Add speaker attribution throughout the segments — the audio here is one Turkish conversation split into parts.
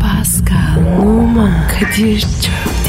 Speaker 1: Pascal, Oman, Kadir çok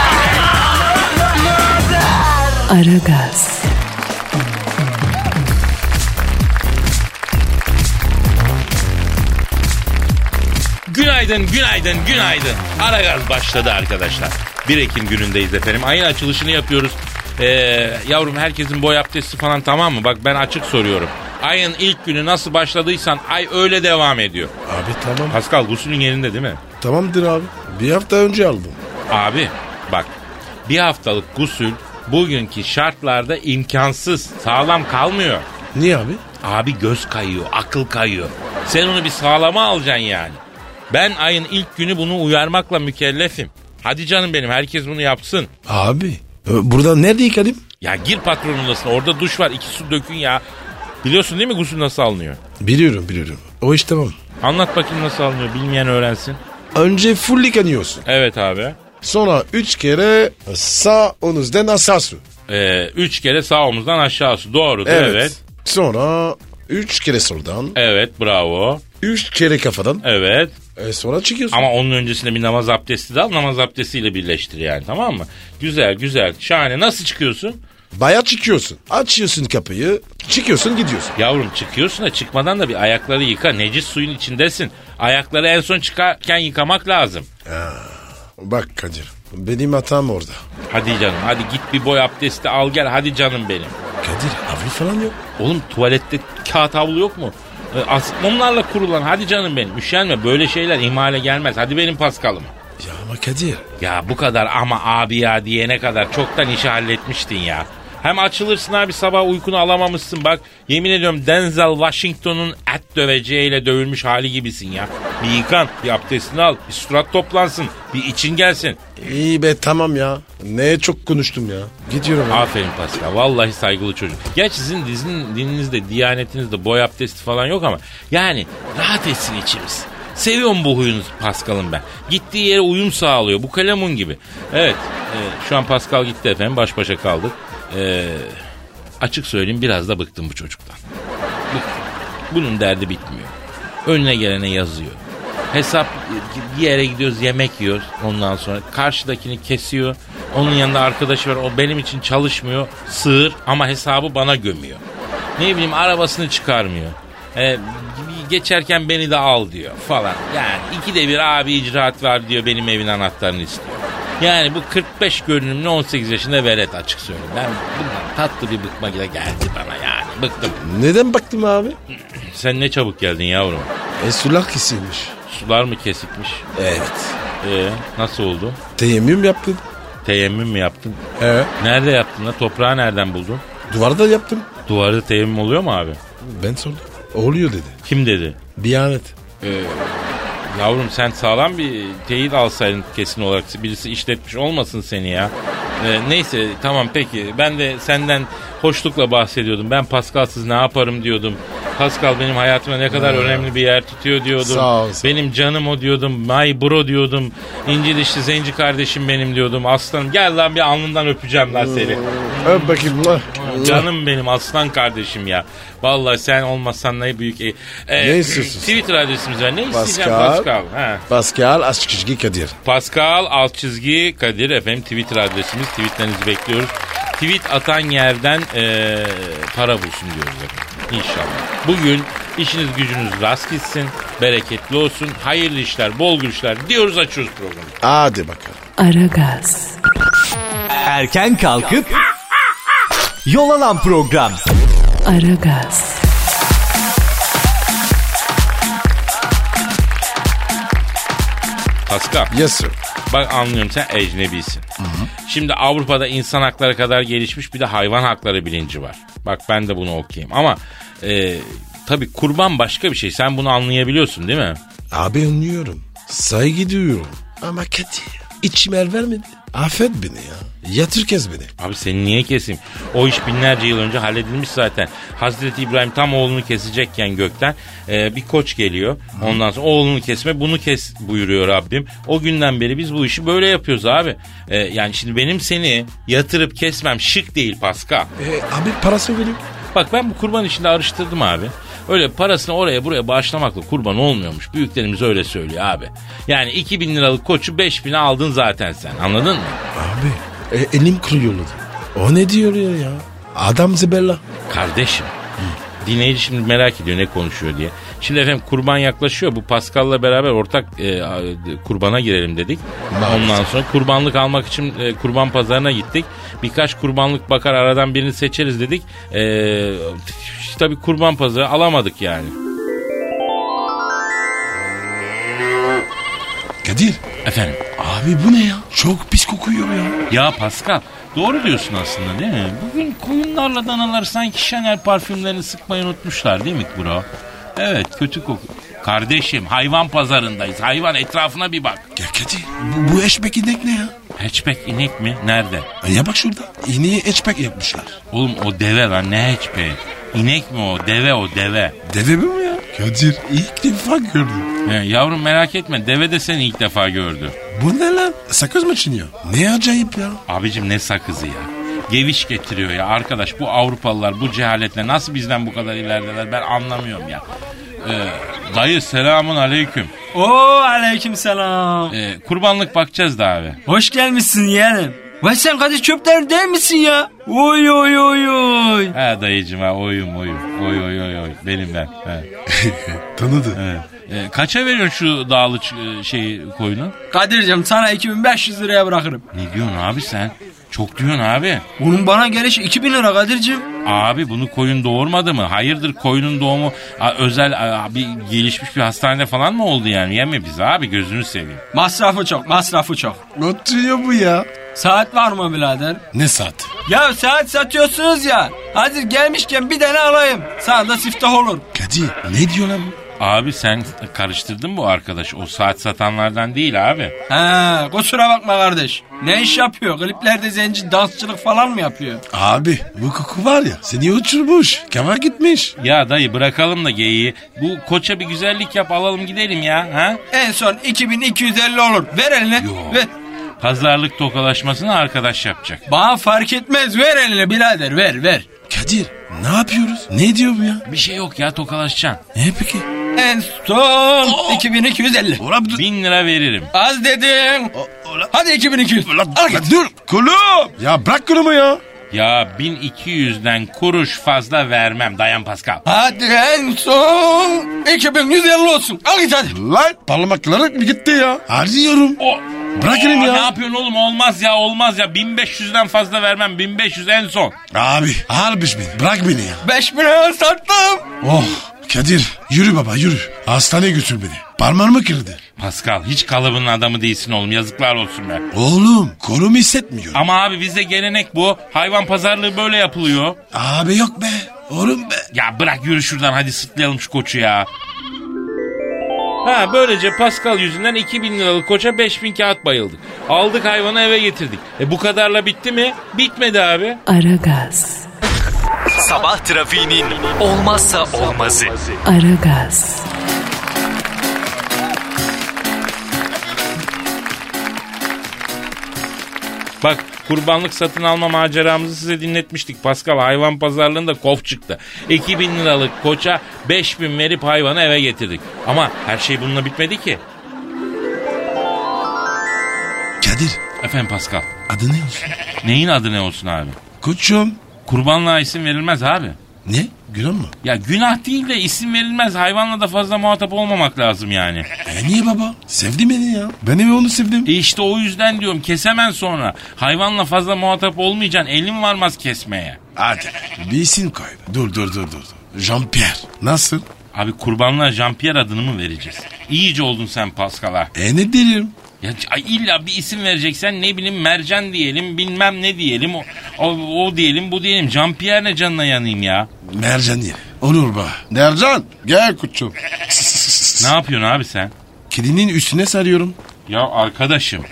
Speaker 1: Aragaz,
Speaker 2: Günaydın, günaydın, günaydın. Aragaz başladı arkadaşlar. 1 Ekim günündeyiz efendim. Ayın açılışını yapıyoruz. Ee, yavrum herkesin boy abdesti falan tamam mı? Bak ben açık soruyorum. Ayın ilk günü nasıl başladıysan ay öyle devam ediyor.
Speaker 3: Abi tamam.
Speaker 2: Pascal gusülün yerinde değil mi?
Speaker 3: Tamamdır abi. Bir hafta önce aldım.
Speaker 2: Abi bak bir haftalık gusül bugünkü şartlarda imkansız. Sağlam kalmıyor.
Speaker 3: Niye abi?
Speaker 2: Abi göz kayıyor, akıl kayıyor. Sen onu bir sağlama alacaksın yani. Ben ayın ilk günü bunu uyarmakla mükellefim. Hadi canım benim herkes bunu yapsın.
Speaker 3: Abi. e, Buradan nerede yıkadım?
Speaker 2: Ya gir patronun odasına orada duş var iki su dökün ya. Biliyorsun değil mi gusül nasıl alınıyor?
Speaker 3: Biliyorum biliyorum. O iş tamam.
Speaker 2: Anlat bakayım nasıl alınıyor bilmeyen öğrensin.
Speaker 3: Önce full yıkanıyorsun.
Speaker 2: Evet abi.
Speaker 3: Sonra üç kere sağ omuzdan aşağı su.
Speaker 2: Ee, üç kere sağ omuzdan aşağı su. Doğru evet. evet.
Speaker 3: Sonra üç kere soldan,
Speaker 2: Evet bravo.
Speaker 3: üç kere kafadan.
Speaker 2: Evet.
Speaker 3: E, sonra çıkıyorsun.
Speaker 2: Ama onun öncesinde bir namaz abdesti de al. Namaz abdestiyle birleştir yani tamam mı? Güzel güzel şahane. Nasıl çıkıyorsun?
Speaker 3: Baya çıkıyorsun. Açıyorsun kapıyı, çıkıyorsun gidiyorsun.
Speaker 2: Yavrum çıkıyorsun da çıkmadan da bir ayakları yıka. Necis suyun içindesin. Ayakları en son çıkarken yıkamak lazım.
Speaker 3: Bak Kadir, benim hatam orada.
Speaker 2: Hadi canım hadi git bir boy abdesti al gel hadi canım benim.
Speaker 3: Kadir, avlu falan yok.
Speaker 2: Oğlum tuvalette kağıt havlu yok mu? E, as- Mumlarla kurulan hadi canım benim. Üşenme böyle şeyler imale gelmez. Hadi benim paskalım.
Speaker 3: Ya ama Kadir,
Speaker 2: Ya bu kadar ama abi ya diyene kadar çoktan işi halletmiştin ya. Hem açılırsın abi sabah uykunu alamamışsın bak. Yemin ediyorum Denzel Washington'un et döveceğiyle dövülmüş hali gibisin ya. Bir yıkan, bir abdestini al, bir surat toplansın, bir için gelsin.
Speaker 3: İyi be tamam ya. Ne çok konuştum ya. Gidiyorum abi.
Speaker 2: Aferin Pascal. Vallahi saygılı çocuk. Gerçi sizin dizin, dininizde, diyanetinizde boy abdesti falan yok ama yani rahat etsin içimiz. Seviyorum bu huyunu Pascal'ın ben. Gittiği yere uyum sağlıyor. Bu kalemun gibi. Evet. e, şu an Pascal gitti efendim. Baş başa kaldık. E, açık söyleyeyim biraz da bıktım bu çocuktan. Bıktım. Bunun derdi bitmiyor. Önüne gelene yazıyor. Hesap bir yere gidiyoruz yemek yiyoruz ondan sonra. Karşıdakini kesiyor. Onun yanında arkadaşı var o benim için çalışmıyor. Sığır ama hesabı bana gömüyor. Ne bileyim arabasını çıkarmıyor. Ee, geçerken beni de al diyor falan. Yani ikide bir abi icraat var diyor benim evin anahtarını istiyor. Yani bu 45 görünümlü 18 yaşında velet açık söyleyeyim. Ben bundan tatlı bir bıkma geldi bana yani. Bıktım.
Speaker 3: Neden baktım abi?
Speaker 2: Sen ne çabuk geldin yavrum.
Speaker 3: E sulak kesilmiş.
Speaker 2: Sular mı kesikmiş?
Speaker 3: Evet.
Speaker 2: Ee, nasıl oldu?
Speaker 3: Teyemmüm yaptım.
Speaker 2: Teyemmüm mü yaptın?
Speaker 3: He.
Speaker 2: Nerede yaptın da toprağı nereden buldun?
Speaker 3: Duvarda yaptım.
Speaker 2: Duvarda teyemmüm oluyor mu abi?
Speaker 3: Ben sordum. Oluyor dedi.
Speaker 2: Kim dedi?
Speaker 3: Diyanet.
Speaker 2: Yavrum sen sağlam bir teyit alsaydın kesin olarak. Birisi işletmiş olmasın seni ya. Ee, neyse tamam peki. Ben de senden hoşlukla bahsediyordum. Ben Pascal'sız ne yaparım diyordum. Pascal benim hayatıma ne kadar önemli bir yer tutuyor diyordum.
Speaker 3: Ee, Sağ ol, sağ ol.
Speaker 2: Benim canım o diyordum. My bro diyordum. İnci dişli zenci kardeşim benim diyordum. Aslanım gel lan bir alnından öpeceğim lan seni.
Speaker 3: Öp bakayım. lan.
Speaker 2: Canım benim aslan kardeşim ya. Vallahi sen olmasan ne büyük... e- e,
Speaker 3: Ne istiyorsun?
Speaker 2: Twitter adresimiz var. Ne isteyeceğim
Speaker 3: Pascal.
Speaker 2: Pascal? Ha.
Speaker 3: Pascal Askışgi Kadir.
Speaker 2: Pascal alt çizgi Kadir efendim Twitter adresimiz. Tweetlerinizi bekliyoruz. Tweet atan yerden e, para bulsun diyoruz efendim. İnşallah. Bugün işiniz gücünüz rast gitsin. Bereketli olsun. Hayırlı işler, bol gülüşler diyoruz açıyoruz programı.
Speaker 3: Hadi bakalım.
Speaker 1: Aragaz,
Speaker 4: Erken kalkıp yol alan program.
Speaker 1: Aragaz,
Speaker 2: Pascal
Speaker 3: Yes sir.
Speaker 2: bak anlıyorum sen ecnebisin. Şimdi Avrupa'da insan hakları kadar gelişmiş bir de hayvan hakları bilinci var. Bak ben de bunu okuyayım ama e, tabii kurban başka bir şey. Sen bunu anlayabiliyorsun değil mi?
Speaker 3: Abi anlıyorum. Saygı duyuyorum. Ama Kadir İçim el vermedi. Affet beni ya. Yatır kes beni.
Speaker 2: Abi seni niye keseyim? O iş binlerce yıl önce halledilmiş zaten. Hazreti İbrahim tam oğlunu kesecekken gökten e, bir koç geliyor. Ondan sonra oğlunu kesme bunu kes buyuruyor Rabbim. O günden beri biz bu işi böyle yapıyoruz abi. E, yani şimdi benim seni yatırıp kesmem şık değil Paska.
Speaker 3: E, abi parası vereyim.
Speaker 2: Bak ben bu kurban işini araştırdım abi. Öyle parasını oraya buraya bağışlamakla kurban olmuyormuş. Büyüklerimiz öyle söylüyor abi. Yani 2000 liralık koçu 5000'e aldın zaten sen anladın mı?
Speaker 3: Abi e, elim kırıyorladı. O ne diyor ya ya? Adam zibella.
Speaker 2: Kardeşim. Dinleyici şimdi merak ediyor ne konuşuyor diye. Şimdi efendim kurban yaklaşıyor. Bu Pascal'la beraber ortak e, a- e, kurbana girelim dedik. Ondan sonra kurbanlık almak için e, kurban pazarına gittik. Birkaç kurbanlık bakar aradan birini seçeriz dedik. E, tabii kurban pazarı alamadık yani.
Speaker 3: Kadir
Speaker 2: Efendim
Speaker 3: abi bu ne ya? Çok pis kokuyor ya.
Speaker 2: ya Pascal doğru diyorsun aslında değil mi? Bugün koyunlarla danalar sanki Chanel parfümlerini sıkmayı unutmuşlar değil mi bro? Evet kötü koku. Kardeşim hayvan pazarındayız. Hayvan etrafına bir bak.
Speaker 3: Ya Kadir bu, bu eşbek inek ne ya?
Speaker 2: Hatchback inek mi? Nerede?
Speaker 3: E, Ya bak şurada. İneği eşbek yapmışlar.
Speaker 2: Oğlum o deve lan ne hatchback? İnek mi o? Deve o deve.
Speaker 3: Deve mi bu ya? Kadir ilk defa gördüm.
Speaker 2: He, yavrum merak etme deve de seni ilk defa gördü.
Speaker 3: Bu ne lan? Sakız mı çiniyor? Ne acayip ya.
Speaker 2: Abicim ne sakızı ya. Geviş getiriyor ya arkadaş bu Avrupalılar bu cehaletle nasıl bizden bu kadar ilerideler ben anlamıyorum ya. Ee, dayı selamun aleyküm.
Speaker 5: Oo aleykümselam.
Speaker 2: Ee, kurbanlık bakacağız da abi.
Speaker 5: Hoş gelmişsin yeğenim. Vay sen Kadir Çöpler değil misin ya? Oy oy oy oy.
Speaker 2: He dayıcım ha oyum oyum. Oy oy oy oy benim ben. He,
Speaker 3: Tanıdı.
Speaker 2: he. Ee, kaça veriyorsun şu dağlı ç- e, şeyi koyunu?
Speaker 5: Kadir'cim sana 2500 liraya bırakırım.
Speaker 2: Ne diyorsun abi sen? Çok diyorsun abi.
Speaker 5: Bunun bana gelişi 2000 lira Kadir'cim.
Speaker 2: Abi bunu koyun doğurmadı mı? Hayırdır koyunun doğumu a, özel a, bir gelişmiş bir hastanede falan mı oldu yani? Yeme bizi abi gözünü seveyim.
Speaker 5: Masrafı çok masrafı çok.
Speaker 3: Ne oturuyor bu ya?
Speaker 5: Saat var mı birader?
Speaker 3: Ne saat?
Speaker 5: Ya saat satıyorsunuz ya. Hazır gelmişken bir tane alayım. Sana da siftah olur.
Speaker 3: Kadir ne diyor lan bu?
Speaker 2: Abi sen karıştırdın bu arkadaş. O saat satanlardan değil abi.
Speaker 5: Ha, kusura bakma kardeş. Ne iş yapıyor? Kliplerde zenci dansçılık falan mı yapıyor?
Speaker 3: Abi bu koku var ya seni uçurmuş. Kemal gitmiş.
Speaker 2: Ya dayı bırakalım da geyiği. Bu koça bir güzellik yap alalım gidelim ya. Ha?
Speaker 5: En son 2250 olur. Ver eline.
Speaker 2: Yo.
Speaker 5: Ver.
Speaker 2: Pazarlık tokalaşmasını arkadaş yapacak.
Speaker 5: Bana fark etmez ver eline birader ver ver.
Speaker 3: Kadir ne yapıyoruz? Ne diyor bu ya?
Speaker 2: Bir şey yok ya tokalaşacaksın.
Speaker 3: Ne peki?
Speaker 5: En son 2250.
Speaker 3: Ulan dur.
Speaker 2: Bin lira veririm.
Speaker 5: Az dedin. Hadi 2200. Al
Speaker 3: Ulan
Speaker 5: git.
Speaker 3: dur. Kulum. Ya bırak kulumu ya.
Speaker 2: Ya 1200'den kuruş fazla vermem dayan Pascal.
Speaker 5: Hadi en son 2150 olsun. Al git hadi.
Speaker 3: Lan parmakları mı gitti ya? Arıyorum. Bırakın
Speaker 2: Aa,
Speaker 3: ya.
Speaker 2: Ne yapıyorsun oğlum olmaz ya olmaz ya 1500'den fazla vermem 1500 en son.
Speaker 3: Abi harbiş beni. Bırak beni ya.
Speaker 5: 5000 lira sattım.
Speaker 3: Oh Kadir yürü baba yürü. Hastaneye götür beni. Parmağımı kırdı.
Speaker 2: Pascal hiç kalıbının adamı değilsin oğlum yazıklar olsun be.
Speaker 3: Oğlum kolumu hissetmiyor.
Speaker 2: Ama abi bizde gelenek bu. Hayvan pazarlığı böyle yapılıyor.
Speaker 3: Abi yok be. Oğlum be.
Speaker 2: Ya bırak yürü şuradan hadi sıtlayalım şu koçu ya. Ha böylece Pascal yüzünden 2000 liralık koça 5000 kağıt bayıldık. Aldık hayvanı eve getirdik. E bu kadarla bitti mi? Bitmedi abi.
Speaker 1: Aragaz.
Speaker 4: Sabah trafiğinin olmazsa olmazı.
Speaker 1: Aragaz.
Speaker 2: Bak kurbanlık satın alma maceramızı size dinletmiştik. Pascal hayvan pazarlığında kof çıktı. 2000 liralık koça 5000 verip hayvanı eve getirdik. Ama her şey bununla bitmedi ki.
Speaker 3: Kadir
Speaker 2: Efendim Pascal
Speaker 3: adı ne olsun?
Speaker 2: neyin adı ne olsun abi?
Speaker 3: Koçum.
Speaker 2: Kurbanlığa isim verilmez abi.
Speaker 3: Ne? Günah mı?
Speaker 2: Ya günah değil de isim verilmez. Hayvanla da fazla muhatap olmamak lazım yani.
Speaker 3: E niye baba? Sevdi beni ya. Ben ve onu sevdim.
Speaker 2: E işte o yüzden diyorum kesemen sonra. Hayvanla fazla muhatap olmayacaksın. Elin varmaz kesmeye.
Speaker 3: Hadi bir isim koy. Dur dur dur dur. Jean Pierre. Nasıl?
Speaker 2: Abi kurbanlığa Jean-Pierre adını mı vereceğiz? İyice oldun sen Pascal'a.
Speaker 3: E ne derim?
Speaker 2: Ya c- ay illa bir isim vereceksen ne bileyim mercan diyelim bilmem ne diyelim o, o, o diyelim bu diyelim. Jean Pierre ne canına yanayım ya.
Speaker 3: Mercan diyelim. Olur be. Mercan gel koçum.
Speaker 2: Ne yapıyorsun abi sen?
Speaker 3: Kedinin üstüne sarıyorum.
Speaker 2: Ya arkadaşım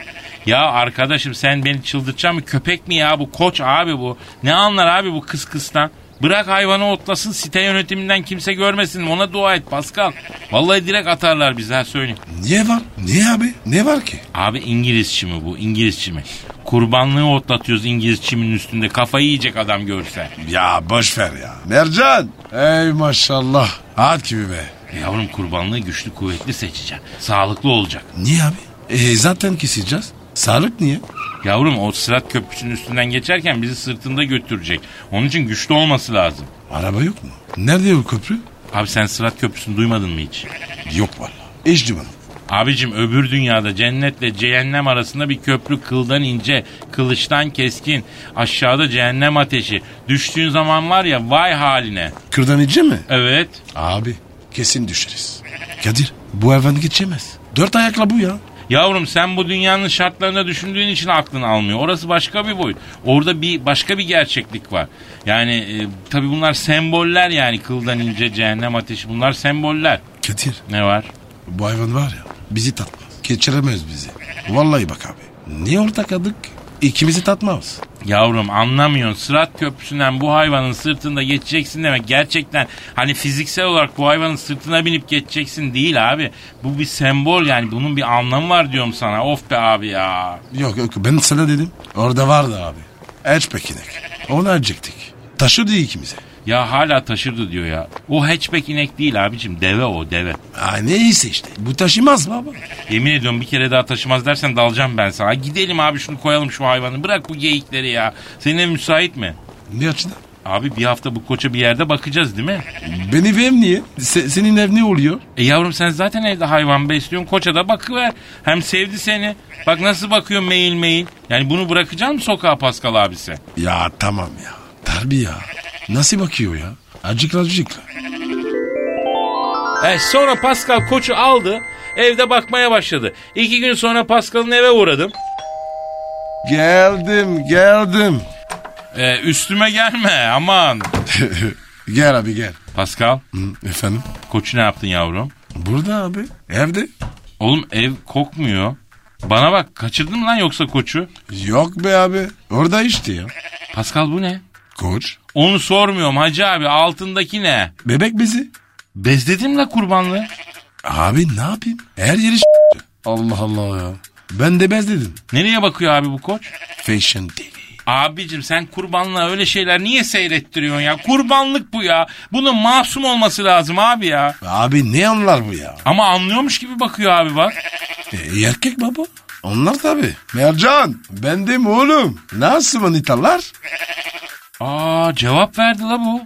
Speaker 2: Ya arkadaşım sen beni çıldırtacaksın mı? Köpek mi ya bu? Koç abi bu. Ne anlar abi bu kıs kıstan? Bırak hayvanı otlasın site yönetiminden kimse görmesin. Ona dua et Pascal. Vallahi direkt atarlar bizi ha söyleyeyim.
Speaker 3: Niye var? Niye abi? Ne var ki?
Speaker 2: Abi İngiliz çimi bu İngiliz çimi. Kurbanlığı otlatıyoruz İngiliz çiminin üstünde. Kafayı yiyecek adam görse.
Speaker 3: Ya boş ver ya. Mercan. Ey maşallah. At gibi be.
Speaker 2: Yavrum kurbanlığı güçlü kuvvetli seçeceğim. Sağlıklı olacak.
Speaker 3: Niye abi? E, zaten keseceğiz. Sağlık niye?
Speaker 2: Yavrum o Sırat Köprüsü'nün üstünden geçerken bizi sırtında götürecek. Onun için güçlü olması lazım.
Speaker 3: Araba yok mu? Nerede o köprü?
Speaker 2: Abi sen Sırat Köprüsü'nü duymadın mı hiç?
Speaker 3: Yok valla. Hiç duymadım.
Speaker 2: Abicim öbür dünyada cennetle cehennem arasında bir köprü kıldan ince, kılıçtan keskin. Aşağıda cehennem ateşi. Düştüğün zaman var ya vay haline.
Speaker 3: Kırdan ince mi?
Speaker 2: Evet.
Speaker 3: Abi kesin düşeriz. Kadir bu hayvan geçemez. Dört ayakla bu ya.
Speaker 2: Yavrum sen bu dünyanın şartlarını düşündüğün için aklın almıyor. Orası başka bir boyut. Orada bir başka bir gerçeklik var. Yani e, tabii bunlar semboller yani kıldan ince cehennem ateşi bunlar semboller.
Speaker 3: Kadir
Speaker 2: Ne var?
Speaker 3: bu hayvan var ya bizi tatmaz. Geçiremez bizi. Vallahi bak abi. Niye ortak kaldık? İkimizi tatmaz.
Speaker 2: Yavrum anlamıyorsun. Sırat köprüsünden bu hayvanın sırtında geçeceksin demek gerçekten hani fiziksel olarak bu hayvanın sırtına binip geçeceksin değil abi. Bu bir sembol yani bunun bir anlamı var diyorum sana. Of be abi ya.
Speaker 3: Yok yok ben sana dedim. Orada vardı abi. Erç pekinek. Onu ercektik. Taşıdı ikimize.
Speaker 2: Ya hala taşırdı diyor ya. O hatchback inek değil abicim. Deve o deve.
Speaker 3: Aa, neyse işte. Bu taşımaz mı abi?
Speaker 2: Yemin ediyorum bir kere daha taşımaz dersen dalacağım ben sana. Gidelim abi şunu koyalım şu hayvanı. Bırak bu geyikleri ya. Senin ev müsait mi?
Speaker 3: Ne açıdan?
Speaker 2: Abi bir hafta bu koça bir yerde bakacağız değil mi?
Speaker 3: Benim ev niye? Se- senin ev ne oluyor?
Speaker 2: E yavrum sen zaten evde hayvan besliyorsun. Koça da bakıver. Hem sevdi seni. Bak nasıl bakıyor meyil meyil. Yani bunu bırakacak mı sokağa Pascal abisi?
Speaker 3: Ya tamam ya. Terbiye ya. Nasıl bakıyor ya? Acıkla acıkla.
Speaker 2: E sonra Pascal koçu aldı. Evde bakmaya başladı. İki gün sonra Pascal'ın eve uğradım.
Speaker 3: Geldim geldim.
Speaker 2: E, üstüme gelme aman.
Speaker 3: gel abi gel.
Speaker 2: Pascal
Speaker 3: Hı, Efendim?
Speaker 2: koçu ne yaptın yavrum?
Speaker 3: Burada abi. Evde.
Speaker 2: Oğlum ev kokmuyor. Bana bak kaçırdın mı lan yoksa koçu?
Speaker 3: Yok be abi. Orada işte ya.
Speaker 2: Pascal bu ne?
Speaker 3: Koç.
Speaker 2: Onu sormuyorum hacı abi altındaki ne?
Speaker 3: Bebek bizi.
Speaker 2: Bezledim la kurbanlığı.
Speaker 3: Abi ne yapayım? Her yeri s- Allah Allah ya. Ben de bezledim.
Speaker 2: Nereye bakıyor abi bu koç?
Speaker 3: Fashion TV.
Speaker 2: Abicim sen kurbanlığa öyle şeyler niye seyrettiriyorsun ya? Kurbanlık bu ya. Bunun masum olması lazım abi ya.
Speaker 3: Abi ne anlar bu ya?
Speaker 2: Ama anlıyormuş gibi bakıyor abi bak.
Speaker 3: E, erkek baba. Onlar tabi. Mercan. Ben de mi oğlum? Nasıl manitalar?
Speaker 2: Aa cevap verdi la bu.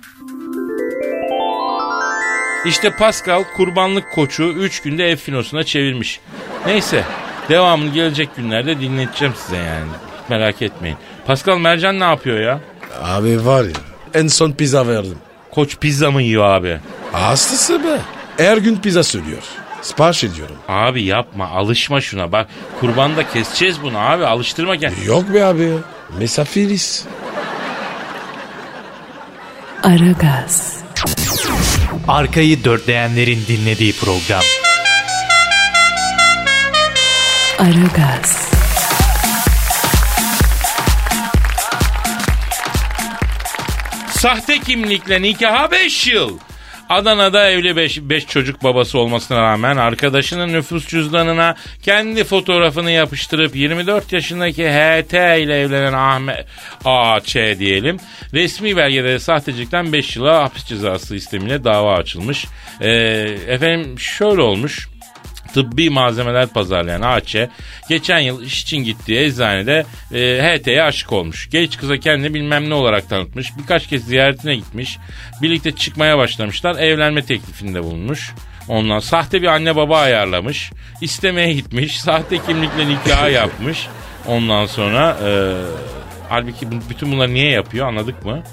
Speaker 2: İşte Pascal kurbanlık koçu 3 günde ev finosuna çevirmiş. Neyse devamını gelecek günlerde dinleteceğim size yani. Merak etmeyin. Pascal Mercan ne yapıyor ya?
Speaker 3: Abi var ya. En son pizza verdim.
Speaker 2: Koç pizza mı yiyor abi?
Speaker 3: Hastası be. Her gün pizza söylüyor. Sipariş ediyorum.
Speaker 2: Abi yapma alışma şuna bak. Kurbanda keseceğiz bunu abi alıştırma kendini.
Speaker 3: Yok be abi. Mesafiriz.
Speaker 1: Aragaz,
Speaker 4: Arkayı dörtleyenlerin dinlediği program.
Speaker 1: Aragaz,
Speaker 2: Sahte kimlikle nikaha 5 yıl. Adana'da evli 5 çocuk babası olmasına rağmen arkadaşının nüfus cüzdanına kendi fotoğrafını yapıştırıp 24 yaşındaki HT ile evlenen Ahmet AÇ diyelim. Resmi belgede sahtecilikten 5 yıla hapis cezası istemiyle dava açılmış. Ee, efendim şöyle olmuş tıbbi malzemeler pazarlayan AÇ geçen yıl iş için gittiği eczanede e, HT'ye aşık olmuş. Genç kıza kendini bilmem ne olarak tanıtmış. Birkaç kez ziyaretine gitmiş. Birlikte çıkmaya başlamışlar. Evlenme teklifinde bulunmuş. Ondan sahte bir anne baba ayarlamış. İstemeye gitmiş. Sahte kimlikle nikah yapmış. Ondan sonra e, halbuki bu- bütün bunları niye yapıyor anladık mı?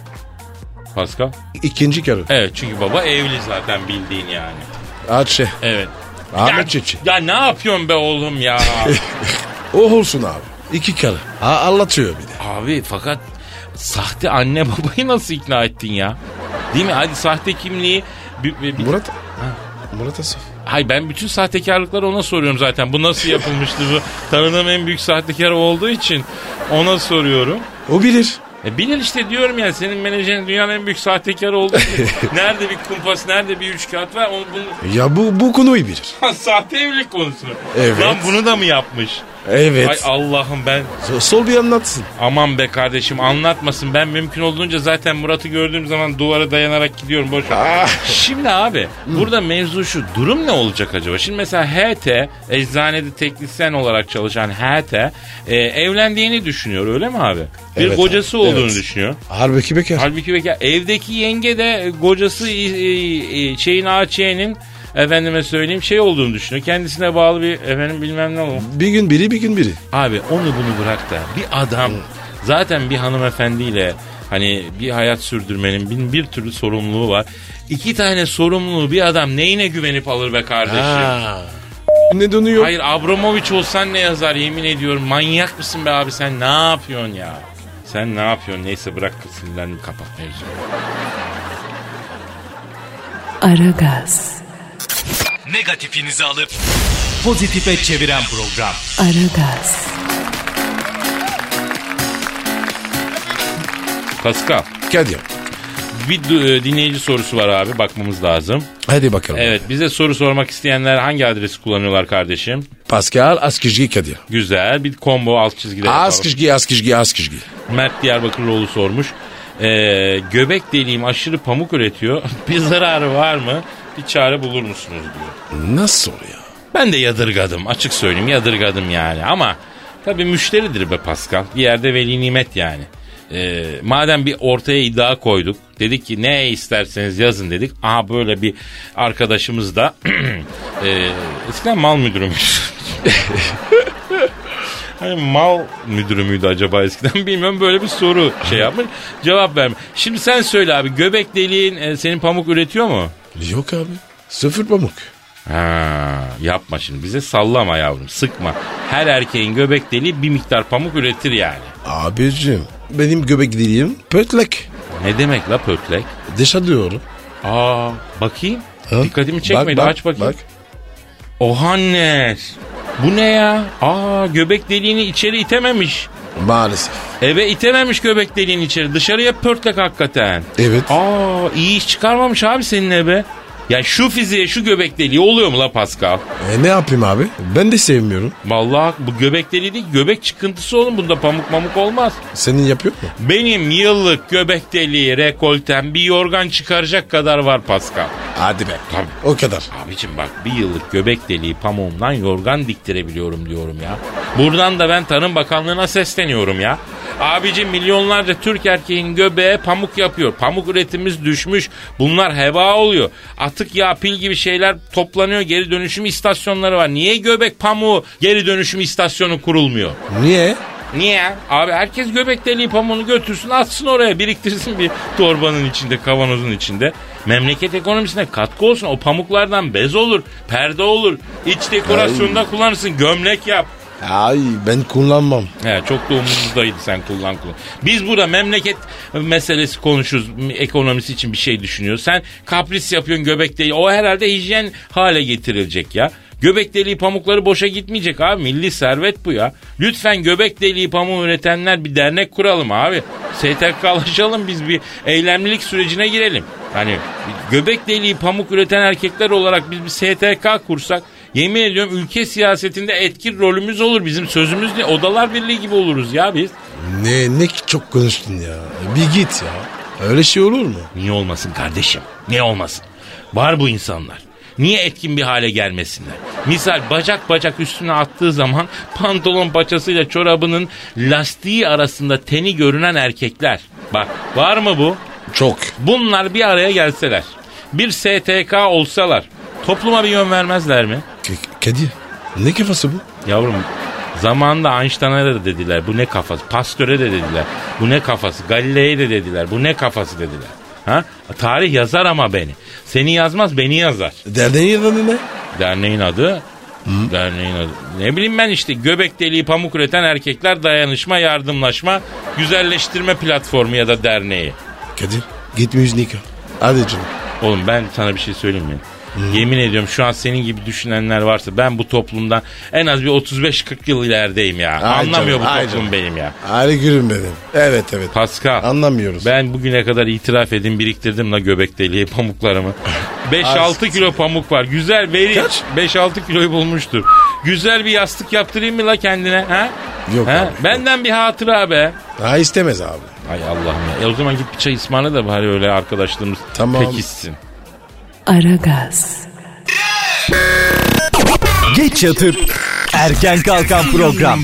Speaker 2: Pascal?
Speaker 3: İkinci karı.
Speaker 2: Evet çünkü baba evli zaten bildiğin yani.
Speaker 3: Açe.
Speaker 2: Evet.
Speaker 3: şey. Ahmet
Speaker 2: ya,
Speaker 3: Çeçi.
Speaker 2: Ya ne yapıyorsun be oğlum ya?
Speaker 3: O olsun abi. İki karı. Ha, anlatıyor bir de.
Speaker 2: Abi fakat sahte anne babayı nasıl ikna ettin ya? Değil mi? Hadi sahte kimliği bir, bir- bir-
Speaker 3: Murat. Murat Asaf.
Speaker 2: Hay ben bütün sahtekarlıkları ona soruyorum zaten. Bu nasıl yapılmıştı bu? Tanıdığım en büyük sahtekar olduğu için ona soruyorum.
Speaker 6: O bilir.
Speaker 2: E bilir işte diyorum ya senin menajerin dünyanın en büyük sahtekarı olduğu için. nerede bir kumpas, nerede bir üç kağıt var onu bunu...
Speaker 6: Ya bu, bu konuyu bilir.
Speaker 2: Sahte evlilik konusunu.
Speaker 6: Evet.
Speaker 2: Lan bunu da mı yapmış? Ay
Speaker 6: Evet.
Speaker 2: Allah'ım ben
Speaker 6: So- Sol bir anlatsın.
Speaker 2: aman be kardeşim anlatmasın. Ben mümkün olduğunca zaten Murat'ı gördüğüm zaman duvara dayanarak gidiyorum boş
Speaker 6: Ah.
Speaker 2: ver. Şimdi abi burada mevzu şu durum ne olacak acaba? Şimdi mesela HT eczanede teknisyen olarak çalışan HT e, evlendiğini düşünüyor öyle mi abi? Bir
Speaker 6: Evet
Speaker 2: kocası
Speaker 6: abi,
Speaker 2: olduğunu
Speaker 6: evet.
Speaker 2: düşünüyor.
Speaker 6: Harbuki bekar.
Speaker 2: Halbuki bekar. Evdeki yenge de e, kocası e, e, e, şeyin AÇ'nin efendime söyleyeyim şey olduğunu düşünüyor. Kendisine bağlı bir efendim bilmem ne o.
Speaker 6: Bir gün biri bir gün biri.
Speaker 2: Abi onu bunu bırak da bir adam zaten bir hanımefendiyle hani bir hayat sürdürmenin bin bir türlü sorumluluğu var. İki tane sorumluluğu bir adam neyine güvenip alır be kardeşim?
Speaker 6: Ne dönüyor?
Speaker 2: Hayır Abramovich olsan ne yazar yemin ediyorum manyak mısın be abi sen ne yapıyorsun ya? Sen ne yapıyorsun? Neyse bırak sinirlendim kapat mevzuyu.
Speaker 1: Aragaz,
Speaker 4: Negatifinizi alıp pozitife çeviren program.
Speaker 1: Aragaz,
Speaker 2: Pascal
Speaker 6: Hadi.
Speaker 2: bir du- e, dinleyici sorusu var abi bakmamız lazım.
Speaker 6: Hadi bakalım.
Speaker 2: Evet bize soru sormak isteyenler hangi adresi kullanıyorlar kardeşim?
Speaker 6: Pascal Askizgi Kadir.
Speaker 2: Güzel bir combo alt çizgide yapalım.
Speaker 6: Askizgi Askizgi Askizgi.
Speaker 2: Mert Diyarbakırlıoğlu sormuş. Ee, göbek deliğim aşırı pamuk üretiyor. bir zararı var mı? Bir çare bulur musunuz diyor.
Speaker 6: Nasıl ya?
Speaker 2: Ben de yadırgadım açık söyleyeyim yadırgadım yani ama tabii müşteridir be Pascal. Bir yerde veli nimet yani. Ee, madem bir ortaya iddia koyduk dedik ki ne isterseniz yazın dedik. Aha böyle bir arkadaşımız da ee, eskiden mal müdürümüş. Hani mal müdürü müydü acaba eskiden bilmiyorum böyle bir soru şey yapmış cevap vermiş. Şimdi sen söyle abi göbek deliğin e, senin pamuk üretiyor mu?
Speaker 6: Yok abi. Sıfır pamuk.
Speaker 2: Ha, yapma şimdi bize sallama yavrum sıkma. Her erkeğin göbek deliği bir miktar pamuk üretir yani.
Speaker 6: Abicim benim göbek deliğim pötlek.
Speaker 2: Ne demek la pötlek?
Speaker 6: Dışa diyorum.
Speaker 2: Aa bakayım.
Speaker 6: Ha?
Speaker 2: Dikkatimi
Speaker 6: Bak,
Speaker 2: çekmedi
Speaker 6: bak,
Speaker 2: aç bakayım.
Speaker 6: bak.
Speaker 2: Ohannes. Bu ne ya? Aa göbek deliğini içeri itememiş.
Speaker 6: Maalesef.
Speaker 2: Eve itememiş göbek deliğini içeri. Dışarıya pörtlek hakikaten.
Speaker 6: Evet.
Speaker 2: Aa iyi iş çıkarmamış abi senin ebe. Ya şu fiziğe şu göbek deliği oluyor mu la Pascal?
Speaker 6: E, ne yapayım abi? Ben de sevmiyorum.
Speaker 2: Vallahi bu göbek deliği değil göbek çıkıntısı oğlum bunda pamuk mamuk olmaz.
Speaker 6: Senin yapıyor mu?
Speaker 2: Benim yıllık göbek deliği rekolten bir yorgan çıkaracak kadar var Pascal.
Speaker 6: Hadi be.
Speaker 2: Tabii.
Speaker 6: O kadar.
Speaker 2: Abicim bak bir yıllık göbek deliği pamuğumdan yorgan diktirebiliyorum diyorum ya. Buradan da ben Tarım Bakanlığı'na sesleniyorum ya. Abicim milyonlarca Türk erkeğin göbeğe pamuk yapıyor. Pamuk üretimimiz düşmüş. Bunlar heba oluyor. Atık yağ pil gibi şeyler toplanıyor. Geri dönüşüm istasyonları var. Niye göbek pamuğu geri dönüşüm istasyonu kurulmuyor?
Speaker 6: Niye?
Speaker 2: Niye? Abi herkes göbek deliği pamuğunu götürsün atsın oraya biriktirsin bir torbanın içinde kavanozun içinde. Memleket ekonomisine katkı olsun o pamuklardan bez olur perde olur iç dekorasyonda kullanırsın gömlek yap.
Speaker 6: Ay ben kullanmam.
Speaker 2: He, çok da umurumuzdaydı sen kullan kullan. Biz burada memleket meselesi konuşuyoruz m- ekonomisi için bir şey düşünüyoruz. Sen kapris yapıyorsun göbek deliği o herhalde hijyen hale getirilecek ya. Göbek deliği pamukları boşa gitmeyecek abi. Milli servet bu ya. Lütfen göbek deliği pamuğu üretenler bir dernek kuralım abi. STK'laşalım biz bir eylemlilik sürecine girelim. Hani göbek deliği pamuk üreten erkekler olarak biz bir STK kursak Yemin ediyorum ülke siyasetinde etkin rolümüz olur. Bizim sözümüz ne? Odalar Birliği gibi oluruz ya biz.
Speaker 6: Ne ne ki çok konuştun ya. Bir git ya. Öyle şey olur mu?
Speaker 2: Niye olmasın kardeşim? Niye olmasın? Var bu insanlar. Niye etkin bir hale gelmesinler? Misal bacak bacak üstüne attığı zaman pantolon paçasıyla çorabının lastiği arasında teni görünen erkekler. Bak var mı bu?
Speaker 6: Çok.
Speaker 2: Bunlar bir araya gelseler. Bir STK olsalar. Topluma bir yön vermezler mi?
Speaker 6: K- Kadir. Ne kafası bu?
Speaker 2: Yavrum zamanında Einstein'a da dediler bu ne kafası. Pasteur'e de dediler bu ne kafası. Galileo'ya de dediler bu ne kafası dediler. Ha? Tarih yazar ama beni. Seni yazmaz beni yazar.
Speaker 6: Derdin yanında ne?
Speaker 2: Derneğin adı Derneğin adı. Ne bileyim ben işte göbek deliği pamuk üreten erkekler dayanışma, yardımlaşma, güzelleştirme platformu ya da derneği.
Speaker 6: Kadir. Gitmiyoruz Nika. Hadi canım.
Speaker 2: Oğlum ben sana bir şey söyleyeyim mi? Yemin ediyorum şu an senin gibi düşünenler varsa ben bu toplumdan en az bir 35-40 yıl ilerideyim ya.
Speaker 6: Ay
Speaker 2: Anlamıyor
Speaker 6: canım, ay
Speaker 2: bu toplum
Speaker 6: canım.
Speaker 2: benim ya.
Speaker 6: Hadi gülüm benim. Evet evet.
Speaker 2: Pascal.
Speaker 6: Anlamıyoruz.
Speaker 2: Ben bugüne kadar itiraf edin biriktirdim la göbek deliği pamuklarımı. 5-6 kilo pamuk var. Güzel veri.
Speaker 6: Kaç?
Speaker 2: 5-6 kiloyu bulmuştur. Güzel bir yastık yaptırayım mı la kendine? Ha?
Speaker 6: Yok
Speaker 2: ha?
Speaker 6: abi,
Speaker 2: Benden bir hatıra be.
Speaker 6: Ha istemez abi.
Speaker 2: Ay Allah'ım ya. E o zaman git bir çay ısmarla da bari öyle arkadaşlığımız
Speaker 6: Tamam.
Speaker 2: pekişsin.
Speaker 1: Aragaz,
Speaker 4: Geç yatıp erken kalkan program.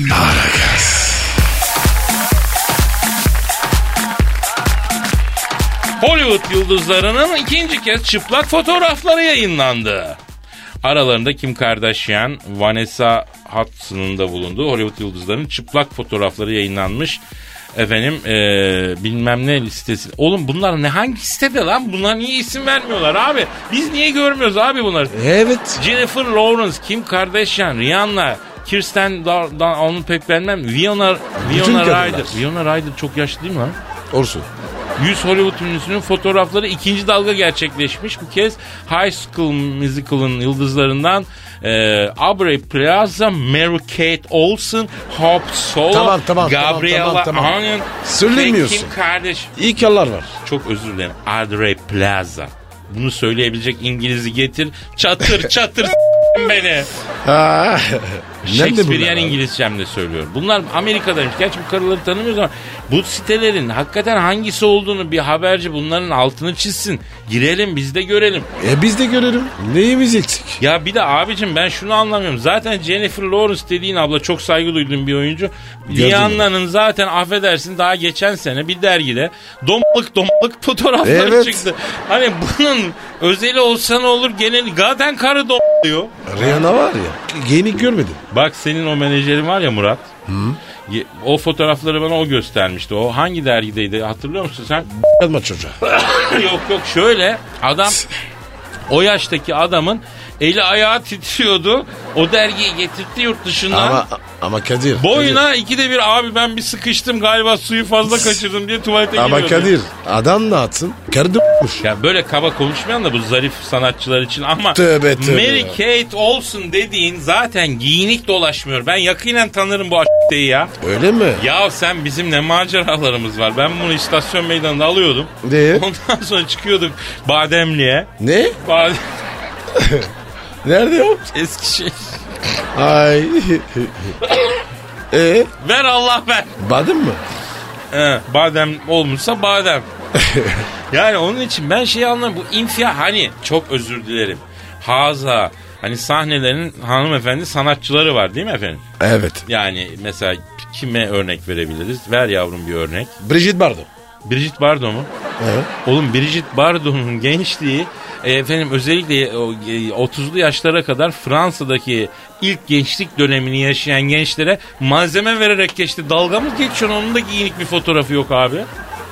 Speaker 2: Hollywood yıldızlarının ikinci kez çıplak fotoğrafları yayınlandı. Aralarında Kim Kardashian, Vanessa Hudson'ın da bulunduğu Hollywood yıldızlarının çıplak fotoğrafları yayınlanmış. Efendim eee, bilmem ne listesi. Oğlum bunlar ne hangi sitede lan? Bunlar niye isim vermiyorlar abi? Biz niye görmüyoruz abi bunları?
Speaker 6: Evet.
Speaker 2: Jennifer Lawrence, Kim Kardashian, Rihanna, Kirsten Dunst'dan onu pek beğenmem. Viona, Viona
Speaker 6: kadınlar.
Speaker 2: Ryder. Viona Ryder çok yaşlı değil mi lan?
Speaker 6: Olsun.
Speaker 2: 100 Hollywood ünlüsünün fotoğrafları ikinci dalga gerçekleşmiş. Bu kez High School Musical'ın yıldızlarından e, Aubrey Plaza, Mary Kate Olsen, Hope Solo,
Speaker 6: Tamam, tamam, tamam,
Speaker 2: Gabriela
Speaker 6: tamam, tamam.
Speaker 2: Union,
Speaker 6: Söylemiyorsun.
Speaker 2: Kim kardeş.
Speaker 6: İyi kallar var.
Speaker 2: Çok özür dilerim. Aubrey Plaza. Bunu söyleyebilecek İngiliz'i getir. Çatır çatır s- beni.
Speaker 6: Ha.
Speaker 2: Shakespearean İngilizcemle söylüyorum. Bunlar Amerika'daymış. Gerçi bu karıları tanımıyoruz ama bu sitelerin hakikaten hangisi olduğunu bir haberci bunların altını çizsin. Girelim biz de görelim.
Speaker 6: E biz de görelim. Neyimiz eksik?
Speaker 2: Ya bir de abicim ben şunu anlamıyorum. Zaten Jennifer Lawrence dediğin abla çok saygı duyduğum bir oyuncu.
Speaker 6: mü?
Speaker 2: Rihanna'nın zaten affedersin daha geçen sene bir dergide dombalık dombalık fotoğrafları
Speaker 6: Evet.
Speaker 2: çıktı. Hani bunun özeli olsa ne olur genel zaten karı dombalıyor.
Speaker 6: Rihanna var ya. Geynik görmedim.
Speaker 2: Bak senin o menajerin var ya Murat. Ye- O fotoğrafları bana o göstermişti. O hangi dergideydi hatırlıyor musun sen?
Speaker 6: Yapma çocuğa.
Speaker 2: yok yok şöyle adam o yaştaki adamın eli ayağı titriyordu. O dergiyi getirtti yurt dışından.
Speaker 6: Ama ama Kadir.
Speaker 2: Boyuna ikide bir abi ben bir sıkıştım galiba suyu fazla kaçırdım diye tuvalete
Speaker 6: Kadir. Ama
Speaker 2: giriyordu.
Speaker 6: Kadir adam ne atsın? Karı d***muş.
Speaker 2: Ya böyle kaba konuşmayan da bu zarif sanatçılar için ama
Speaker 6: Tövbe, tövbe
Speaker 2: Mary
Speaker 6: ya.
Speaker 2: Kate Olsen dediğin zaten giyinik dolaşmıyor. Ben yakinen tanırım bu a**teyi ya.
Speaker 6: Öyle mi?
Speaker 2: Ya sen bizim ne maceralarımız var. Ben bunu istasyon meydanında alıyordum.
Speaker 6: Ne?
Speaker 2: Ondan sonra çıkıyorduk Bademli'ye.
Speaker 6: Ne?
Speaker 2: Badem
Speaker 6: Nerede o?
Speaker 2: Eskişehir.
Speaker 6: Ay. e
Speaker 2: Ver Allah ver.
Speaker 6: badem mı?
Speaker 2: He, badem olmuşsa badem. yani onun için ben şeyi anlamıyorum. Bu infial hani çok özür dilerim. Haza hani sahnelerin hanımefendi sanatçıları var değil mi efendim?
Speaker 6: Evet.
Speaker 2: Yani mesela kime örnek verebiliriz? Ver yavrum bir örnek.
Speaker 6: Brigitte Bardot.
Speaker 2: Brigitte Bardot mu?
Speaker 6: Evet.
Speaker 2: Oğlum Brigitte Bardot'un gençliği e, efendim özellikle o, e, 30'lu yaşlara kadar Fransa'daki ilk gençlik dönemini yaşayan gençlere malzeme vererek geçti. Dalga mı geçiyorsun onun da giyinik bir fotoğrafı yok abi.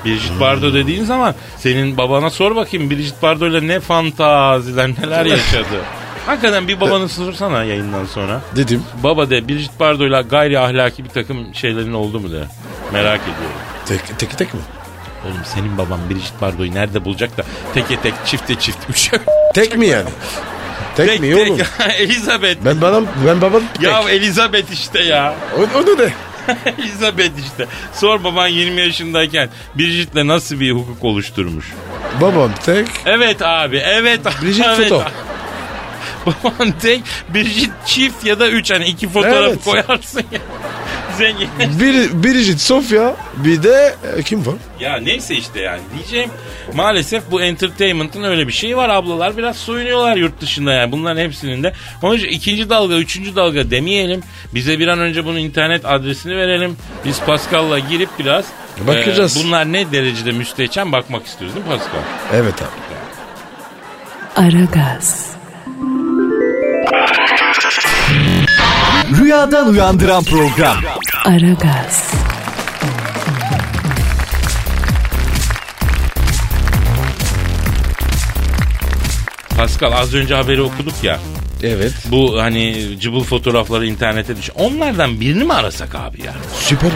Speaker 2: Brigitte Bardot dediğin zaman senin babana sor bakayım Brigitte Bardot ile ne fantaziler neler yaşadı. Hakikaten bir babanı sorsana yayından sonra.
Speaker 6: Dedim.
Speaker 2: Baba de Brigitte Bardot ile gayri ahlaki bir takım şeylerin oldu mu de. Merak ediyorum.
Speaker 6: Tek, tek tek mi?
Speaker 2: Oğlum senin baban Brigitte Bardot'u nerede bulacak da teke tek çifte çift üçe
Speaker 6: Tek mi yani? Tek,
Speaker 2: tek
Speaker 6: mi oğlum?
Speaker 2: tek Elizabeth.
Speaker 6: Ben bana ben babam tek.
Speaker 2: Ya Elizabeth işte ya.
Speaker 6: O, onu de.
Speaker 2: Elizabeth işte. Sor baban 20 yaşındayken Brigitte'le nasıl bir hukuk oluşturmuş?
Speaker 6: Babam tek.
Speaker 2: Evet abi evet.
Speaker 6: Brigitte
Speaker 2: evet.
Speaker 6: foto.
Speaker 2: Baban tek Brigitte çift ya da üç hani iki fotoğraf
Speaker 6: Evet.
Speaker 2: koyarsın ya. Zengin.
Speaker 6: Bir, Brigitte Sofya bir de e, kim var?
Speaker 2: Ya neyse işte yani diyeceğim maalesef bu entertainment'ın öyle bir şeyi var ablalar biraz soyunuyorlar yurt dışında yani bunların hepsinin de. Onun için ikinci dalga üçüncü dalga demeyelim bize bir an önce bunun internet adresini verelim biz Pascal'la girip biraz e,
Speaker 6: Bakacağız.
Speaker 2: bunlar ne derecede müstehcen bakmak istiyoruz değil mi Pascal?
Speaker 6: Evet abi.
Speaker 1: Aragaz,
Speaker 4: Rüyadan uyandıran program.
Speaker 1: Aragaz,
Speaker 2: Pascal az önce haberi okuduk ya
Speaker 6: Evet.
Speaker 2: bu hani cıbıl fotoğrafları internete düş. Onlardan birini mi arasak abi ya?
Speaker 6: Süper.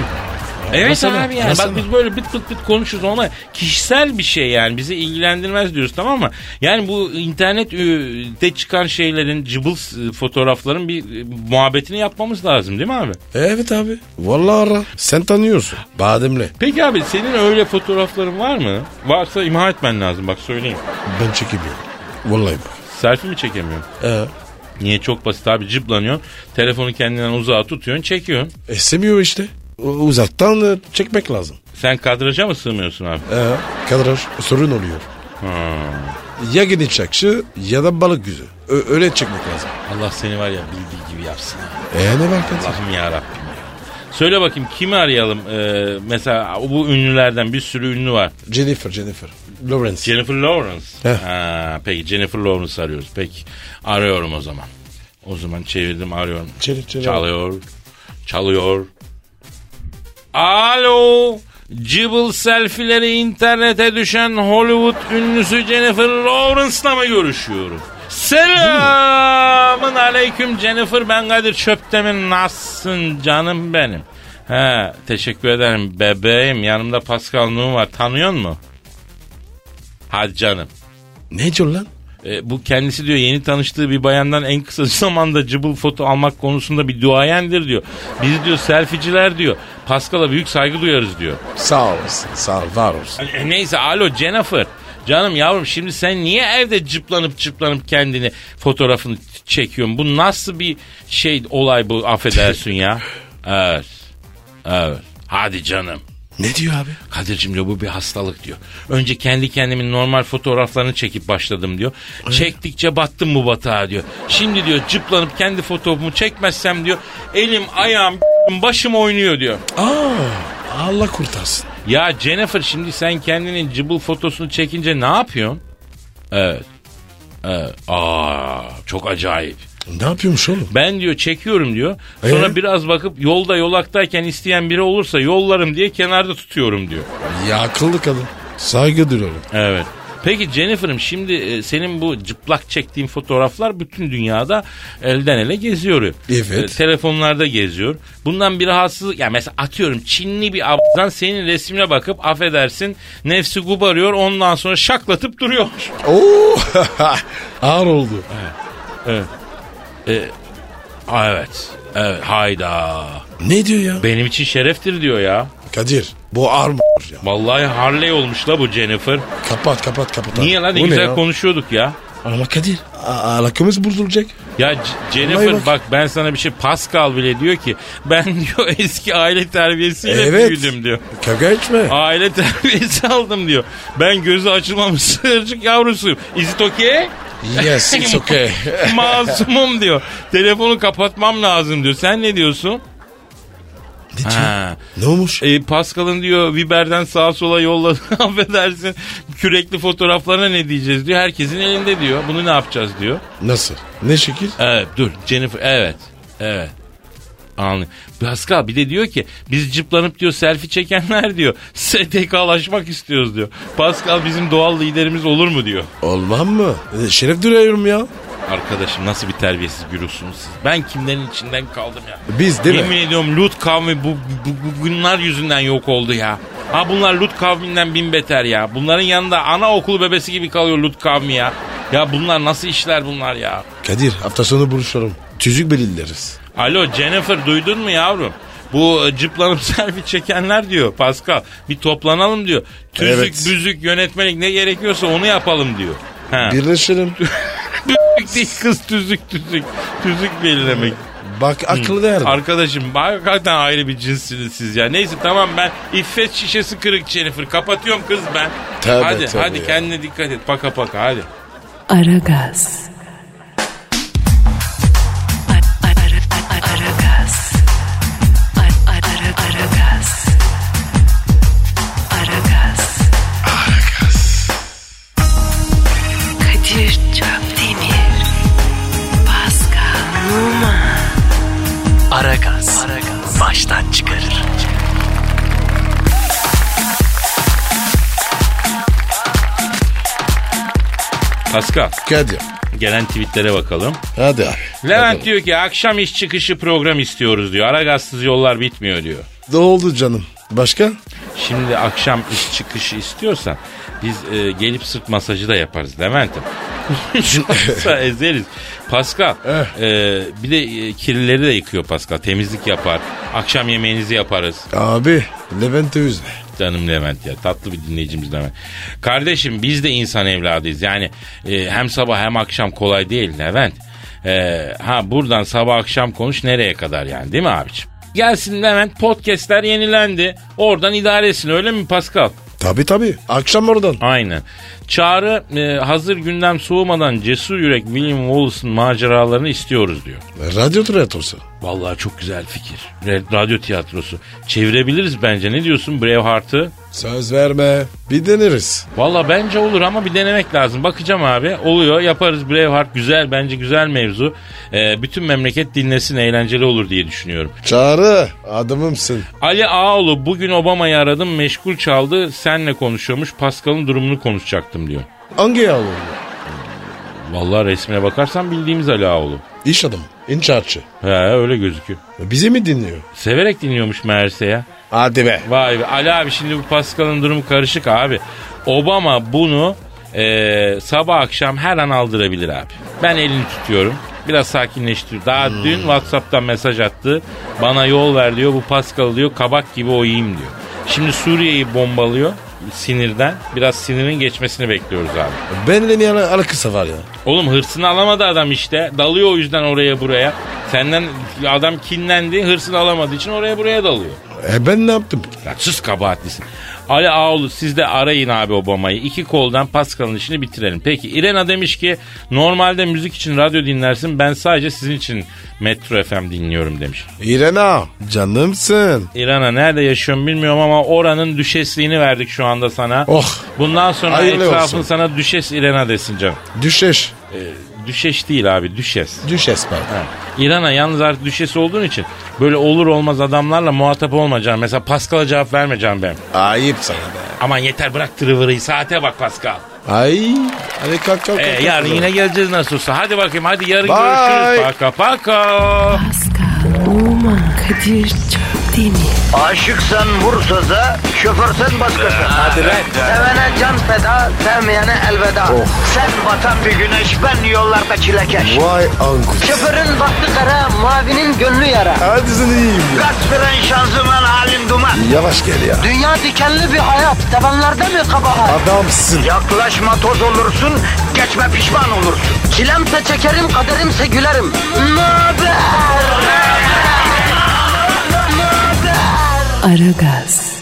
Speaker 2: Evet
Speaker 3: Arasana,
Speaker 2: abi yani
Speaker 3: arasana.
Speaker 2: bak biz böyle bit bit bit konuşuyoruz ama kişisel bir şey yani bizi ilgilendirmez diyoruz tamam mı? Yani bu internette çıkan şeylerin cıbıl e, fotoğrafların bir e, muhabbetini yapmamız lazım değil mi abi?
Speaker 3: Evet abi. Vallahi ara. Sen tanıyorsun. Bademle.
Speaker 2: Peki abi senin öyle fotoğrafların var mı? Varsa imha etmen lazım bak söyleyeyim.
Speaker 3: Ben çekemiyorum. Vallahi bak.
Speaker 2: Selfie mi çekemiyorsun?
Speaker 3: Ee,
Speaker 2: Niye çok basit abi cıplanıyorsun. Telefonu kendinden uzağa tutuyorsun çekiyorsun.
Speaker 3: e, seviyor işte. U- uzaktan e, çekmek lazım.
Speaker 2: Sen kadraja mı sığmıyorsun abi?
Speaker 3: Ee, kadraj sorun oluyor. Ya geniş çakşı ya da balık yüzü. Ö- öyle çekmek lazım.
Speaker 2: Allah seni var ya bildiği gibi yapsın.
Speaker 3: E ne var kardeşim?
Speaker 2: Allah'ım ya Rabbim. Söyle bakayım kimi arayalım? Ee, mesela bu ünlülerden bir sürü ünlü var.
Speaker 3: Jennifer, Jennifer. Lawrence.
Speaker 2: Jennifer Lawrence.
Speaker 3: Heh.
Speaker 2: Ha, peki Jennifer Lawrence arıyoruz. Peki arıyorum o zaman. O zaman çevirdim arıyorum.
Speaker 3: Çevir, çevir.
Speaker 2: Çalıyor. Çalıyor. Alo. Cıbıl selfileri internete düşen Hollywood ünlüsü Jennifer Lawrence'la mı görüşüyorum? Selamın aleyküm Jennifer ben Kadir Çöptemir nasılsın canım benim? He, teşekkür ederim bebeğim yanımda Pascal Nuh var tanıyor musun? Hadi canım.
Speaker 3: Ne diyor lan?
Speaker 2: E, bu kendisi diyor yeni tanıştığı bir bayandan en kısa zamanda cıbıl foto almak konusunda bir duayendir diyor. Biz diyor selficiler diyor. Pascal'a büyük saygı duyarız diyor.
Speaker 3: Sağ olasın, sağ ol, var olsun.
Speaker 2: E, neyse alo Jennifer. Canım yavrum şimdi sen niye evde cıplanıp cıplanıp kendini fotoğrafını t- çekiyorsun? Bu nasıl bir şey olay bu affedersin ya. Evet. Evet. Hadi canım.
Speaker 3: Ne diyor abi?
Speaker 2: Kadir'cim diyor bu bir hastalık diyor. Önce kendi kendimin normal fotoğraflarını çekip başladım diyor. Çektikçe battım bu batağa diyor. Şimdi diyor cıplanıp kendi fotoğrafımı çekmezsem diyor elim ayağım başım oynuyor diyor.
Speaker 3: Aa, Allah kurtarsın.
Speaker 2: Ya Jennifer şimdi sen kendinin cıbıl fotosunu çekince ne yapıyorsun? Evet. Evet. Aa çok acayip.
Speaker 3: Ne yapıyormuş oğlum?
Speaker 2: Ben diyor çekiyorum diyor. Sonra
Speaker 3: Ee?
Speaker 2: biraz bakıp yolda yolaktayken isteyen biri olursa yollarım diye kenarda tutuyorum diyor.
Speaker 3: Ya akıllı kadın. Saygı duyuyorum.
Speaker 2: Evet. Peki Jennifer'ım şimdi e, senin bu cıplak çektiğin fotoğraflar bütün dünyada elden ele geziyor.
Speaker 3: Evet.
Speaker 2: E, telefonlarda geziyor. Bundan bir rahatsızlık yani mesela atıyorum Çinli bir ablan senin resmine bakıp affedersin nefsi gubarıyor ondan sonra şaklatıp duruyor.
Speaker 3: Oo, ağır oldu.
Speaker 2: E, aa, evet. Evet hayda.
Speaker 3: Ne diyor ya?
Speaker 2: Benim için şereftir diyor ya.
Speaker 3: Kadir, bu ağır mı ya?
Speaker 2: Vallahi Harley olmuş la bu Jennifer.
Speaker 3: Kapat, kapat, kapat. abi.
Speaker 2: Niye lan ne
Speaker 3: Bu
Speaker 2: güzel
Speaker 3: ya?
Speaker 2: konuşuyorduk ya.
Speaker 3: Ama Kadir, a- alakamız bozulacak.
Speaker 2: Ya C- Jennifer
Speaker 3: Vallahi
Speaker 2: bak.
Speaker 3: bak-
Speaker 2: ben sana bir şey Pascal bile diyor ki ben diyor eski aile terbiyesiyle
Speaker 3: Evet.
Speaker 2: büyüdüm diyor.
Speaker 3: Kavga etme.
Speaker 2: Aile terbiyesi aldım diyor. Ben gözü açılmamış sığırcık yavrusuyum. Is it okay?
Speaker 3: yes, it's okay.
Speaker 2: Masumum diyor. Telefonu kapatmam lazım diyor. Sen ne diyorsun?
Speaker 3: ne diyor?
Speaker 2: Ha.
Speaker 3: Ne olmuş?
Speaker 2: E, Pascal'ın diyor Viber'den sağa sola yolladı affedersin kürekli fotoğraflarına ne diyeceğiz diyor. Herkesin elinde diyor. Bunu ne yapacağız diyor.
Speaker 3: Nasıl? Ne şekil?
Speaker 2: Evet dur Jennifer evet evet. Anlıyorum. Pascal bir de diyor ki biz cıplanıp diyor selfie çekenler diyor STK'laşmak istiyoruz diyor. Pascal bizim doğal liderimiz olur mu diyor.
Speaker 3: Olmam mı? E, Şeref duyuyorum ya.
Speaker 2: Arkadaşım nasıl bir terbiyesiz gürülsünüz siz. Ben kimlerin içinden kaldım ya.
Speaker 3: Biz değil
Speaker 2: Yemin
Speaker 3: mi?
Speaker 2: ediyorum Lut kavmi bu, bu, bu- bunlar yüzünden yok oldu ya. Ha bunlar Lut kavminden bin beter ya. Bunların yanında anaokulu bebesi gibi kalıyor Lut kavmi ya. Ya bunlar nasıl işler bunlar ya.
Speaker 3: Kadir, hafta sonu buluşalım. Tüzük belirleriz.
Speaker 2: Alo Jennifer duydun mu yavrum? Bu e, cıplanıp selfie çekenler diyor Pascal. Bir toplanalım diyor. Tüzük,
Speaker 3: Evet.
Speaker 2: büzük, yönetmelik ne gerekiyorsa onu yapalım diyor. Ha.
Speaker 3: Birleşelim.
Speaker 2: Büzük değil kız tüzük tüzük. Tüzük belirlemek.
Speaker 3: Bak
Speaker 2: Hmm.
Speaker 3: akıllı derdi.
Speaker 2: Arkadaşım hakikaten ayrı bir cinssiniz siz ya. Neyse tamam ben iffet şişesi kırık Jennifer. Kapatıyorum kız ben.
Speaker 3: Tövbe,
Speaker 2: hadi
Speaker 3: tövbe
Speaker 2: hadi
Speaker 3: ya.
Speaker 2: kendine dikkat et. Paka paka hadi.
Speaker 1: Aragaz. Ara- ara- ara- Aragaz. Ara- ara- Aragaz. Aragaz. Kadir Çöptemir. Pascal Numa.
Speaker 7: Aragaz. Baştan çıkarır.
Speaker 2: Pascal
Speaker 3: Kadir.
Speaker 2: gelen tweetlere bakalım.
Speaker 3: Hadi abi.
Speaker 2: Levent
Speaker 3: Bakalım.
Speaker 2: diyor ki akşam iş çıkışı program istiyoruz diyor. Ara gazsız yollar bitmiyor diyor.
Speaker 3: Ne oldu canım?
Speaker 6: Başka?
Speaker 2: Şimdi akşam iş çıkışı istiyorsan biz e, gelip sırt masajı da yaparız Levent'im. Yoksa ezeriz. Pascal
Speaker 6: Eh.
Speaker 2: e, bir de e, kirlileri de yıkıyor Pascal. Temizlik yapar. Akşam yemeğinizi yaparız.
Speaker 6: Abi Levent'e üzme.
Speaker 2: Canım Levent ya tatlı bir dinleyicimiz Levent. Kardeşim biz de insan evladıyız. Yani e, hem sabah hem akşam kolay değil Levent. E, ha buradan sabah akşam konuş nereye kadar yani değil mi abiciğim? Gelsin Levent podcastler yenilendi. Oradan idaresin öyle mi Pascal?
Speaker 6: Tabi tabi. Akşam oradan.
Speaker 2: Aynen. Çağrı e, hazır gündem soğumadan cesur yürek William Wallace'ın maceralarını istiyoruz diyor.
Speaker 6: Radyo tiyatrosu.
Speaker 2: Vallahi çok güzel fikir. Re- Radyo tiyatrosu. Çevirebiliriz bence. Ne diyorsun Braveheart'ı?
Speaker 6: Söz verme. Bir deneriz.
Speaker 2: Valla bence olur ama bir denemek lazım. Bakacağım abi. Oluyor. Yaparız Braveheart. Güzel. Bence güzel mevzu. E, bütün memleket dinlesin. Eğlenceli olur diye düşünüyorum.
Speaker 6: Çağrı adamımsın.
Speaker 2: Ali Ağoğlu bugün Obama'yı aradım. Meşgul çaldı. Senle konuşuyormuş. Pascal'ın durumunu konuşacaktım diyor.
Speaker 6: Hangi yavrum?
Speaker 2: Vallahi resmine bakarsan bildiğimiz Ali Ağoğlu.
Speaker 6: İş adamı. İnşaatçı.
Speaker 2: He öyle gözüküyor.
Speaker 6: Bizi mi dinliyor?
Speaker 2: Severek dinliyormuş meğerse ya.
Speaker 6: Hadi be.
Speaker 2: Vay be Ali abi şimdi bu Pascal'ın durumu karışık abi. Obama bunu eee, sabah akşam her an aldırabilir abi. Ben elini tutuyorum. Biraz sakinleştir. Daha dün Whatsapp'tan mesaj attı. Bana yol ver diyor. Bu Pascal diyor kabak gibi oyayım diyor. Şimdi Suriye'yi bombalıyor sinirden. Biraz sinirin geçmesini bekliyoruz abi.
Speaker 6: Benle niye ala- alakası var ya?
Speaker 2: Oğlum hırsını alamadı adam işte. Dalıyor o yüzden oraya buraya. Senden adam kinlendi. Hırsını alamadığı için oraya buraya dalıyor.
Speaker 6: E ben ne yaptım?
Speaker 2: Ya sus kabahatlisin. Ali Ağoğlu siz de arayın abi Obama'yı. İki koldan Pascal'ın işini bitirelim. Peki İrena demiş ki normalde müzik için radyo dinlersin. Ben sadece sizin için Metro FM dinliyorum demiş.
Speaker 6: İrena canımsın.
Speaker 2: İrena nerede yaşıyorum bilmiyorum ama oranın düşesliğini verdik şu anda sana.
Speaker 6: Oh
Speaker 2: Bundan sonra
Speaker 6: Hayırlı
Speaker 2: etrafın
Speaker 6: olsun. Ee,
Speaker 2: sana düşes İrena desin canım.
Speaker 6: düşeş.
Speaker 2: Düşeş değil abi düşes.
Speaker 6: Düşes ben.
Speaker 2: Ha. İran'a yalnız artık düşesi olduğun için böyle olur olmaz adamlarla muhatap olmayacağım. Mesela Pascal'a cevap vermeyeceğim ben.
Speaker 6: Ayıp sana be.
Speaker 2: Aman yeter bırak tırıvırıyı saate bak Pascal.
Speaker 6: Ay. Hadi kalk kalk. kalk,
Speaker 2: Ee,
Speaker 6: kalk.
Speaker 2: yarın yine geleceğiz nasıl olsa. Hadi bakayım hadi yarın
Speaker 6: Bye.
Speaker 2: görüşürüz. Paka paka.
Speaker 1: Pascal, Oman, Kadir çok değil mi?
Speaker 7: Aşıksan vursa da, şoförsen başkasın. Hadi Sevene can feda, sevmeyene elveda. Sen batan bir güneş, ben yollarda çilekeş.
Speaker 6: Vay anku.
Speaker 7: Şoförün baktı kara, mavinin gönlü yara.
Speaker 6: Hadi sen iyiyim ya.
Speaker 7: Kasperen şanzıman halin duman.
Speaker 6: Yavaş gel ya.
Speaker 7: Dünya dikenli bir hayat, sevenlerde mi kabahar?
Speaker 6: Adamsın.
Speaker 7: Yaklaşma toz olursun, geçme pişman olursun. Çilemse çekerim, kaderimse gülerim. Möber!
Speaker 1: Aragaz.